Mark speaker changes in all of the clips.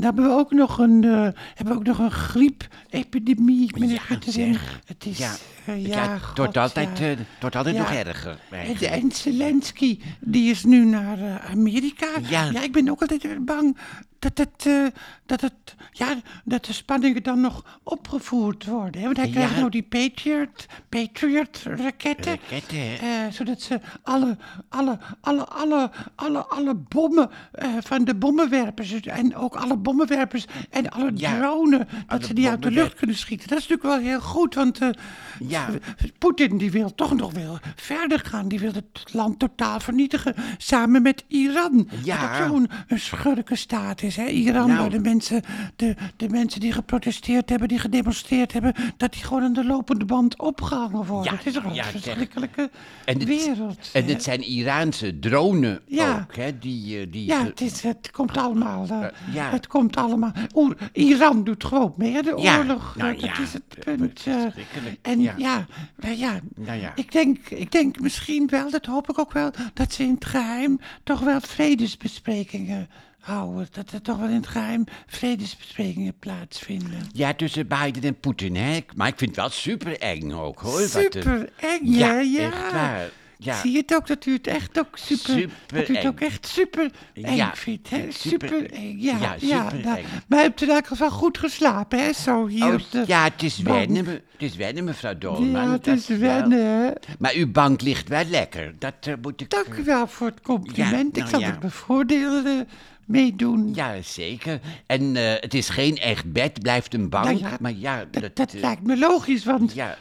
Speaker 1: hebben we ook nog een, eh, hebben we ook nog een griepepidemie, meneer
Speaker 2: Ja,
Speaker 1: Hartenzin.
Speaker 2: zeg.
Speaker 1: Het is,
Speaker 2: Ja.
Speaker 1: eh, ja,
Speaker 2: Ja, het
Speaker 1: God,
Speaker 2: wordt altijd,
Speaker 1: ja.
Speaker 2: eh, het wordt altijd
Speaker 1: Ja.
Speaker 2: nog erger.
Speaker 1: En,
Speaker 2: eigenlijk.
Speaker 1: en Zelensky, die is nu naar eh, Amerika.
Speaker 2: Ja.
Speaker 1: ik ben ook altijd weer bang dat, het, eh, dat, het, ja, dat de spanningen dan nog opgevoerd worden. Hè? Want hij krijgt
Speaker 2: Ja.
Speaker 1: nou die Patriot, Patriot raketten.
Speaker 2: Raketten, hè?
Speaker 1: Eh, zodat ze alle, alle, alle, alle, alle, alle bommen eh, van de bommenwerpers dus- en ook alle bommenwerpers en alle
Speaker 2: Ja.
Speaker 1: drones, dat
Speaker 2: Alle
Speaker 1: ze die uit de lucht
Speaker 2: bommenwerp-
Speaker 1: kunnen schieten. Dat is natuurlijk wel heel goed, want eh,
Speaker 2: Ja.
Speaker 1: Poetin die wil toch nog wel verder gaan. Die wil het land totaal vernietigen samen met Iran.
Speaker 2: Ja.
Speaker 1: Dat zo'n een schurkenstaat is. Hè? Iran,
Speaker 2: Nou.
Speaker 1: waar de mensen, de, de mensen die geprotesteerd hebben, die gedemonstreerd hebben, dat die gewoon aan de lopende band opgehangen worden.
Speaker 2: Ja,
Speaker 1: het is toch
Speaker 2: ja,
Speaker 1: een
Speaker 2: zeg.
Speaker 1: verschrikkelijke
Speaker 2: En het-
Speaker 1: wereld.
Speaker 2: En
Speaker 1: hè?
Speaker 2: het zijn Iraanse dronen
Speaker 1: Ja.
Speaker 2: ook, hè? Die, eh, die
Speaker 1: ja,
Speaker 2: ge-
Speaker 1: het, is, het komt allemaal. eh,
Speaker 2: Eh, ja.
Speaker 1: Het komt allemaal. Oer- Iran doet gewoon meer de
Speaker 2: Ja,
Speaker 1: oorlog.
Speaker 2: nou
Speaker 1: eh, dat
Speaker 2: ja,
Speaker 1: is het
Speaker 2: eh,
Speaker 1: punt. eh.
Speaker 2: verschrikkelijk,
Speaker 1: en ja,
Speaker 2: ja.
Speaker 1: nou ja,
Speaker 2: Nou ja.
Speaker 1: Ik, denk, ik denk misschien wel, dat hoop ik ook wel, dat ze in het geheim toch wel vredesbesprekingen houden. Dat er toch wel in het geheim vredesbesprekingen plaatsvinden.
Speaker 2: Ja, tussen Biden en Poetin, hè? Ik- Maar ik vind het wel super eng ook, hoor. wat eh, de-
Speaker 1: Super eng,
Speaker 2: Ja,
Speaker 1: hè? Ja.
Speaker 2: echt waar. Ja.
Speaker 1: Zie je het ook dat u het echt ook super, dat u het
Speaker 2: Supereng.
Speaker 1: ook echt super eng
Speaker 2: Ja,
Speaker 1: vindt, hè?
Speaker 2: super-
Speaker 1: Super eng, ja, ja,
Speaker 2: ja, supereng.
Speaker 1: nou, maar u hebt in elk geval goed geslapen, hè? Zo hier op de
Speaker 2: Oh, ja, het is
Speaker 1: bank.
Speaker 2: wennen, me- het is wennen mevrouw Dolman.
Speaker 1: Ja, het
Speaker 2: dat
Speaker 1: is
Speaker 2: wel.
Speaker 1: wennen, hè?
Speaker 2: Maar uw bank ligt wel lekker. Dat eh, moet ik...
Speaker 1: Dank u wel voor het compliment.
Speaker 2: Ja,
Speaker 1: ik
Speaker 2: nou
Speaker 1: zal
Speaker 2: ja.
Speaker 1: er mijn voordelen eh, mee doen.
Speaker 2: Ja, zeker. En eh, het is geen echt bed, blijft een bank.
Speaker 1: Nou ja,
Speaker 2: maar ja, dat...
Speaker 1: dat, dat
Speaker 2: eh,
Speaker 1: lijkt me logisch, want
Speaker 2: Ja,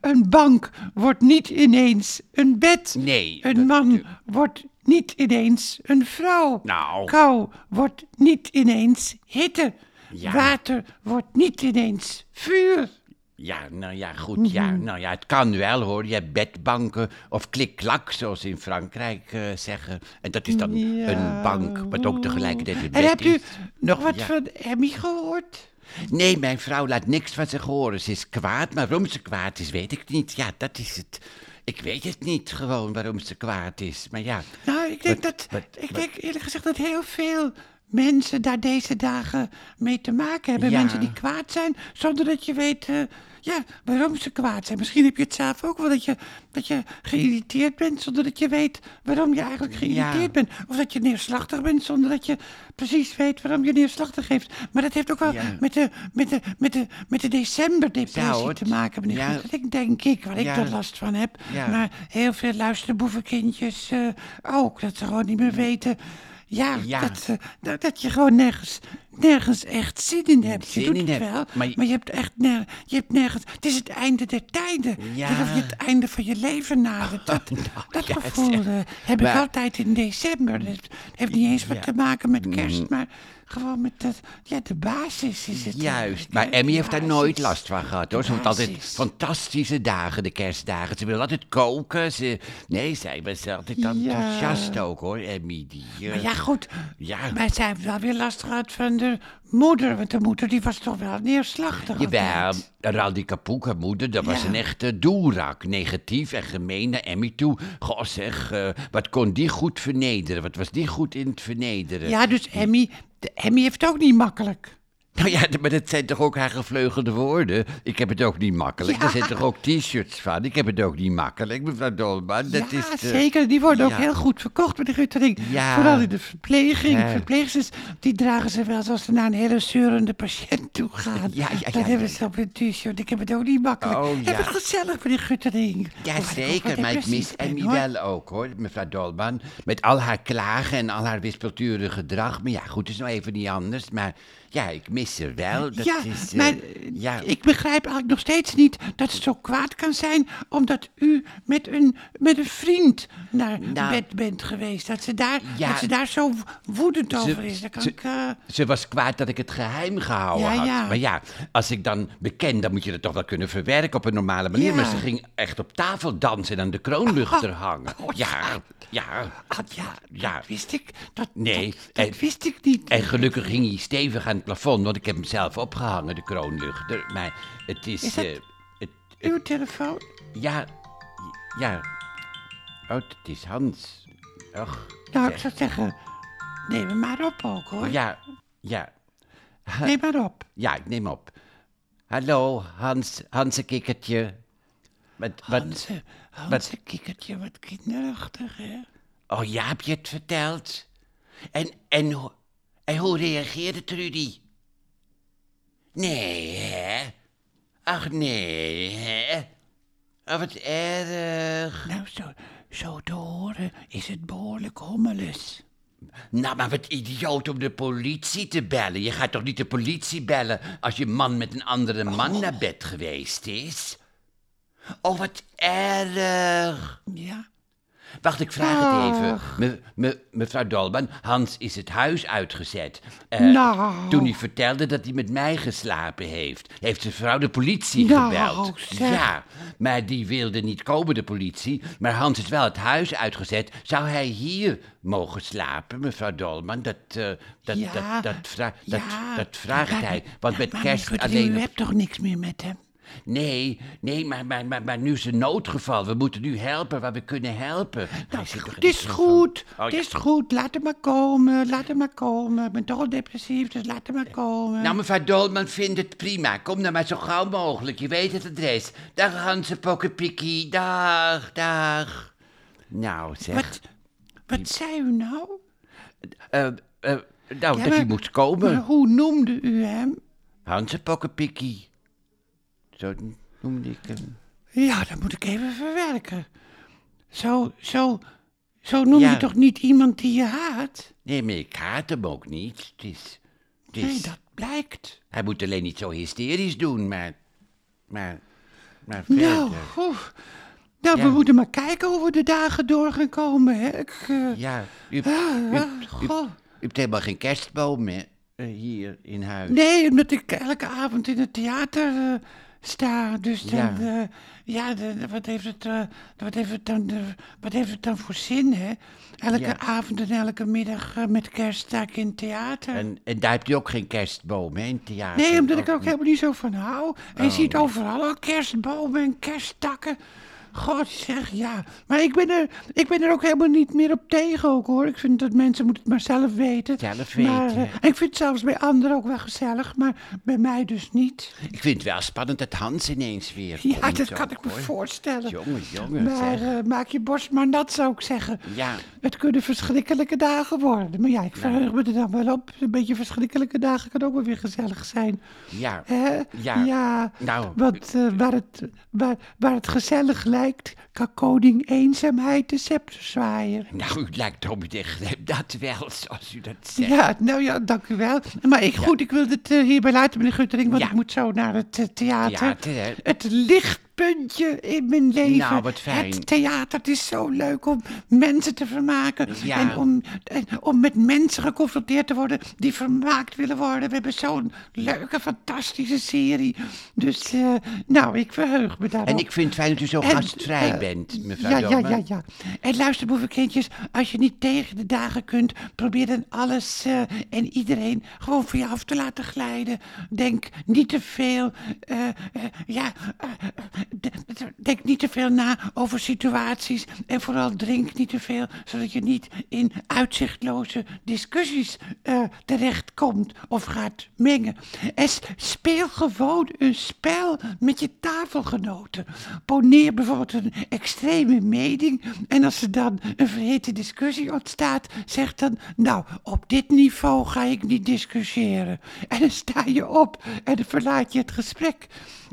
Speaker 1: een bank wordt niet ineens een bed.
Speaker 2: nee. dat-
Speaker 1: Een man wordt niet ineens een vrouw.
Speaker 2: Nou.
Speaker 1: Kou wordt niet ineens hitte.
Speaker 2: Ja.
Speaker 1: Water wordt niet ineens vuur.
Speaker 2: Ja, nou ja, goed. Ja,
Speaker 1: Mhm.
Speaker 2: nou ja, het kan wel hoor. Je hebt bedbanken of klik-klak, zoals ze in Frankrijk eh, zeggen. En dat is dan
Speaker 1: Ja.
Speaker 2: een bank, wat ook tegelijkertijd een bed
Speaker 1: En hebt
Speaker 2: is.
Speaker 1: u nog wat
Speaker 2: Ja.
Speaker 1: van Emmy gehoord?
Speaker 2: Nee, mijn vrouw laat niks van zich horen. Ze is kwaad, maar waarom ze kwaad is, weet ik niet. Ja, dat is het. Ik weet het niet gewoon waarom ze kwaad is. Maar ja,
Speaker 1: Nou, ik denk
Speaker 2: Wat-
Speaker 1: dat.
Speaker 2: wat-
Speaker 1: ik
Speaker 2: wat-
Speaker 1: denk eerlijk gezegd dat heel veel mensen daar deze dagen mee te maken hebben.
Speaker 2: Ja.
Speaker 1: Mensen die kwaad zijn, zonder dat je weet. eh, ja, waarom ze kwaad zijn. Misschien heb je het zelf ook wel dat je, dat je geïrriteerd bent zonder dat je weet waarom je eigenlijk geïrriteerd
Speaker 2: Ja.
Speaker 1: bent. Of dat je neerslachtig bent zonder dat je precies weet waarom je neerslachtig heeft. Maar dat heeft ook wel
Speaker 2: Ja.
Speaker 1: met de, met de, met de, met de decemberdepressie
Speaker 2: Zou het?
Speaker 1: te maken, meneer.
Speaker 2: Ja.
Speaker 1: Groenterik, denk ik, waar ik
Speaker 2: Ja.
Speaker 1: er last van heb.
Speaker 2: Ja.
Speaker 1: Maar heel veel luisterboevenkindjes eh, ook. Dat ze gewoon niet meer weten. Ja,
Speaker 2: Ja.
Speaker 1: Dat, ze- dat, dat je gewoon nergens, nergens echt zin in hebt. je
Speaker 2: Zin
Speaker 1: doet
Speaker 2: in
Speaker 1: het
Speaker 2: hebt,
Speaker 1: wel, maar
Speaker 2: maar
Speaker 1: je,
Speaker 2: je-
Speaker 1: hebt echt ner, je hebt nergens... Het is het einde der tijden.
Speaker 2: Ja.
Speaker 1: Alsof je het einde van je leven nadert. Dat,
Speaker 2: Nou,
Speaker 1: dat
Speaker 2: ja,
Speaker 1: gevoel
Speaker 2: zeg.
Speaker 1: eh, heb ik
Speaker 2: Maar-
Speaker 1: altijd in december. Dat heeft niet eens wat
Speaker 2: Ja. Mm.
Speaker 1: te maken met kerst, maar gewoon met dat, ja, de basis is het.
Speaker 2: Juist,
Speaker 1: eigenlijk,
Speaker 2: maar
Speaker 1: hè,
Speaker 2: Emmy
Speaker 1: de
Speaker 2: heeft daar nooit
Speaker 1: basis.
Speaker 2: last van gehad hoor. Ze vond
Speaker 1: Precies.
Speaker 2: altijd fantastische dagen, de kerstdagen. Ze wil altijd koken. Ze... Nee, zij was altijd
Speaker 1: Ja.
Speaker 2: enthousiast ook hoor, Emmy. Die, eh,
Speaker 1: Maar ja, goed.
Speaker 2: Ja.
Speaker 1: Maar zij heeft wel weer last gehad van de moeder. Want de moeder die was toch wel neerslachtig.
Speaker 2: Jawel,
Speaker 1: altijd.
Speaker 2: Randi Kapoek, haar moeder, dat was
Speaker 1: Ja.
Speaker 2: een echte doelrak. Negatief en gemeen naar Emmy toe. Goh zeg, eh, wat kon die goed vernederen? Wat was die goed in het vernederen?
Speaker 1: Ja, dus Emmy, de Emmy heeft het ook niet makkelijk.
Speaker 2: Nou ja, d- maar dat zijn toch ook haar gevleugelde woorden? Ik heb het ook niet makkelijk.
Speaker 1: Ja.
Speaker 2: Er zijn toch ook t-shirts van? Ik heb het ook niet makkelijk, mevrouw Dolman. Dat
Speaker 1: ja,
Speaker 2: is eh, de-
Speaker 1: zeker. Die worden ook
Speaker 2: ja.
Speaker 1: heel goed verkocht met de Guttering.
Speaker 2: Ja.
Speaker 1: Vooral in de verpleging.
Speaker 2: Ja.
Speaker 1: Verpleegsters, die dragen ze wel eens als ze naar een hele zeurende patiënt toe gaan.
Speaker 2: Ja, ja, ja,
Speaker 1: Dat
Speaker 2: ja,
Speaker 1: hebben
Speaker 2: ja.
Speaker 1: ze op hun t-shirt. Ik heb het ook niet makkelijk.
Speaker 2: Oh,
Speaker 1: Heb
Speaker 2: ja.
Speaker 1: het gezellig met de Oh, Guttering.
Speaker 2: Ja, zeker, maar ik mis Emmy
Speaker 1: wel.
Speaker 2: wel ook, hoor, mevrouw Dolman. Met al haar klagen en al haar wispelturige gedrag. Maar ja, goed, het is nou even niet anders. Maar ja, ik mis haar wel. Dat
Speaker 1: ja,
Speaker 2: is, eh,
Speaker 1: maar
Speaker 2: ja.
Speaker 1: ik begrijp eigenlijk nog steeds niet dat het zo kwaad kan zijn... omdat u met een, met een vriend naar
Speaker 2: Nou.
Speaker 1: bed bent geweest. Dat ze daar,
Speaker 2: Ja.
Speaker 1: dat ze daar zo woedend over is. Dat kan
Speaker 2: ze-
Speaker 1: ik... eh,
Speaker 2: Ze was kwaad dat ik het geheim gehouden
Speaker 1: Ja,
Speaker 2: had.
Speaker 1: ja.
Speaker 2: Maar ja, als ik dan beken, dan moet je dat toch wel kunnen verwerken op een normale manier.
Speaker 1: Ja.
Speaker 2: Maar ze ging echt op tafel dansen en aan de kroonluchter hangen. Ja, ja.
Speaker 1: ah, oh, ja,
Speaker 2: Ja.
Speaker 1: dat wist ik. Dat,
Speaker 2: Nee,
Speaker 1: dat, dat
Speaker 2: en-
Speaker 1: wist ik niet.
Speaker 2: En gelukkig ging hij stevig aan het plafond, want ik heb hem zelf opgehangen, de kroonluchter. Maar het is...
Speaker 1: Is dat-
Speaker 2: eh, het, het-
Speaker 1: Uw telefoon...
Speaker 2: ja, ja. Oh, het is Hans. Och,
Speaker 1: Nou,
Speaker 2: zeg.
Speaker 1: ik zou zeggen... Neem hem maar op ook, hoor.
Speaker 2: Ja, Ja,
Speaker 1: Neem maar op.
Speaker 2: ja, ik neem op. Hallo, Hans, Hansekikkertje. Wat, wat,
Speaker 1: Hanse, Hanse eh, kikkertje, wat kinderachtig, hè?
Speaker 2: oh ja, heb je het verteld? En, en, ho- en hoe reageerde Trudy? Nee, hè? Ach, nee, hè? Oh, wat erg.
Speaker 1: Nou, zo, zo te horen is het behoorlijk hommeles.
Speaker 2: Nou, maar wat idioot om de politie te bellen. Je gaat toch niet de politie bellen als je man met een andere man naar bed geweest is? Oh, wat erg.
Speaker 1: Ja,
Speaker 2: Wacht, ik vraag het even. Me, me, mevrouw Dolman, Hans is het huis uitgezet. Eh,
Speaker 1: Nou.
Speaker 2: Toen hij vertelde dat hij met mij geslapen heeft, heeft zijn vrouw de politie
Speaker 1: Nou,
Speaker 2: gebeld.
Speaker 1: zeg.
Speaker 2: Ja, maar die wilde niet komen, de politie. Maar Hans is wel het huis uitgezet. Zou hij hier mogen slapen, mevrouw Dolman? Dat, eh, dat,
Speaker 1: Ja.
Speaker 2: dat, dat, vra- dat,
Speaker 1: ja.
Speaker 2: dat vraagt
Speaker 1: Maar-
Speaker 2: hij. Want
Speaker 1: ja,
Speaker 2: met
Speaker 1: maar
Speaker 2: kerst
Speaker 1: Michiel,
Speaker 2: alleen
Speaker 1: U
Speaker 2: nog
Speaker 1: hebt toch niks meer met hem?
Speaker 2: Nee, nee, maar, maar, maar, maar nu is een noodgeval. We moeten nu helpen waar we kunnen helpen. Hij zit nog in
Speaker 1: Het
Speaker 2: de
Speaker 1: Nou, is
Speaker 2: telefoon.
Speaker 1: goed,
Speaker 2: Oh,
Speaker 1: het
Speaker 2: ja.
Speaker 1: is goed. Laat hem maar komen, laat hem maar komen. Ik ben toch al depressief, dus laat hem maar komen.
Speaker 2: Nou, mevrouw Dolman vindt het prima. Kom dan maar zo gauw mogelijk. Je weet het adres. Dag, Hanse Pokkeprikkie. Dag, dag. Nou, zeg.
Speaker 1: wat, wat zei u nou?
Speaker 2: Eh, eh, nou, dat
Speaker 1: maar-
Speaker 2: hij moest komen.
Speaker 1: Maar hoe noemde u hem?
Speaker 2: Hanse Pokkeprikkie. Zo noemde ik hem.
Speaker 1: Ja, dat moet ik even verwerken. Zo, zo, zo noem
Speaker 2: Ja.
Speaker 1: je toch niet iemand die je haat?
Speaker 2: Nee, maar ik haat hem ook niet. Het is... Het is
Speaker 1: Nee, dat blijkt.
Speaker 2: Hij moet alleen niet zo hysterisch doen, maar... Maar... Maar
Speaker 1: Nou,
Speaker 2: verder.
Speaker 1: oef. nou
Speaker 2: Ja.
Speaker 1: we moeten maar kijken hoe we de dagen door gaan komen. Hè. Ik, eh,
Speaker 2: Ja, u, hebt-
Speaker 1: ah,
Speaker 2: u,
Speaker 1: ah,
Speaker 2: u,
Speaker 1: goh.
Speaker 2: u hebt helemaal geen kerstboom hè, eh, hier in huis.
Speaker 1: Nee, omdat ik elke avond in het theater eh, sta. Dus dan,
Speaker 2: Ja.
Speaker 1: ja, ja de- de- wat, heeft het, eh, wat, heeft het dan, eh, wat heeft het dan voor zin, hè? Elke
Speaker 2: Ja.
Speaker 1: avond en elke middag eh, met kerst sta ik in het theater.
Speaker 2: En, en daar hebt u ook geen kerstboom, hè, in het theater? Oh,
Speaker 1: Nee, omdat ik er
Speaker 2: Ook Oh.
Speaker 1: ook helemaal niet zo van hou. En je ziet overal al kerstbomen en kersttakken. God zeg ja. Maar ik ben, er, ik ben er ook helemaal niet meer op tegen ook hoor. Ik vind dat mensen moeten het maar zelf weten.
Speaker 2: Zelf
Speaker 1: Maar,
Speaker 2: weten.
Speaker 1: eh, ik vind het zelfs bij anderen ook wel gezellig, maar bij mij dus niet.
Speaker 2: Ik vind het wel spannend dat Hans ineens weer
Speaker 1: Ja,
Speaker 2: komt
Speaker 1: dat kan
Speaker 2: ook,
Speaker 1: ik me
Speaker 2: hoor.
Speaker 1: voorstellen.
Speaker 2: Jongen, jongen,
Speaker 1: Maar
Speaker 2: zeg.
Speaker 1: eh, maak je borst maar nat, zou ik zeggen.
Speaker 2: Ja.
Speaker 1: Het kunnen verschrikkelijke dagen worden. Maar ja, ik verheug me er dan wel op. Een beetje verschrikkelijke dagen kan ook wel weer gezellig zijn.
Speaker 2: Ja.
Speaker 1: eh, Hè?
Speaker 2: Ja.
Speaker 1: ja.
Speaker 2: Nou.
Speaker 1: Want eh, waar, het, waar, waar het gezellig lijkt, kan koning eenzaamheid de scepter zwaaien.
Speaker 2: Nou, u lijkt dominee Glem dat wel, zoals u dat zegt.
Speaker 1: Ja, nou ja, dank u wel. Maar ik, goed, ik wil het eh, hierbij laten, meneer Guttering, want
Speaker 2: Ja.
Speaker 1: ik moet zo naar het eh, theater.
Speaker 2: Theater, hè?
Speaker 1: Het lichtpuntje in mijn leven.
Speaker 2: Nou, wat fijn.
Speaker 1: Het theater, het is zo leuk om mensen te vermaken.
Speaker 2: Ja.
Speaker 1: En om, en om met mensen geconfronteerd te worden die vermaakt willen worden. We hebben zo'n leuke, fantastische serie. Dus, eh, nou, ik verheug me daarop.
Speaker 2: En ik vind het fijn dat u zo
Speaker 1: En,
Speaker 2: gastvrij
Speaker 1: eh,
Speaker 2: bent, mevrouw
Speaker 1: ja, ja,
Speaker 2: Dolman.
Speaker 1: ja, ja. En luister, boevenkindjes, als je niet tegen de dagen kunt, probeer dan alles eh, en iedereen gewoon van je af te laten glijden. Denk niet te veel, eh, eh, ja, eh, de- denk niet te veel na over situaties. En vooral drink niet te veel, zodat je niet in uitzichtloze discussies eh, terechtkomt of gaat mengen. En s- speel gewoon een spel met je tafelgenoten. Poneer bijvoorbeeld een extreme mening. En als er dan een verhete discussie ontstaat, zeg dan: Nou, op dit niveau ga ik niet discussiëren. En dan sta je op en dan verlaat je het gesprek.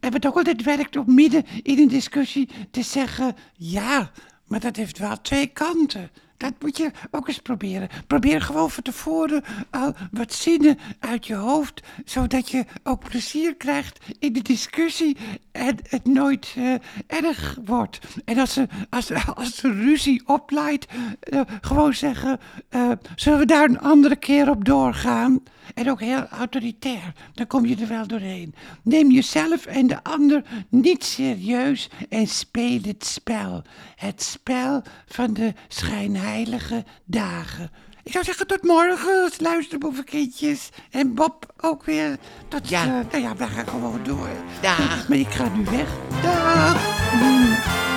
Speaker 1: En wat ook altijd werkt om midden in een discussie te zeggen: Ja, maar dat heeft wel twee kanten. Dat moet je ook eens proberen. Probeer gewoon van tevoren al wat zinnen uit je hoofd, zodat je ook plezier krijgt in de discussie en het nooit eh, erg wordt. En als ze als, als de ruzie oplaait, eh, gewoon zeggen, eh, zullen we daar een andere keer op doorgaan? En ook heel autoritair, dan kom je er wel doorheen. Neem jezelf en de ander niet serieus en speel het spel. Het spel van de schijnheilige dagen. Ik zou zeggen tot morgen, luisterboevenkindjes. En Bob ook weer. Tot,
Speaker 2: Ja.
Speaker 1: eh, nou ja, we gaan gewoon door.
Speaker 2: Dag.
Speaker 1: Maar ik ga nu weg. Dag.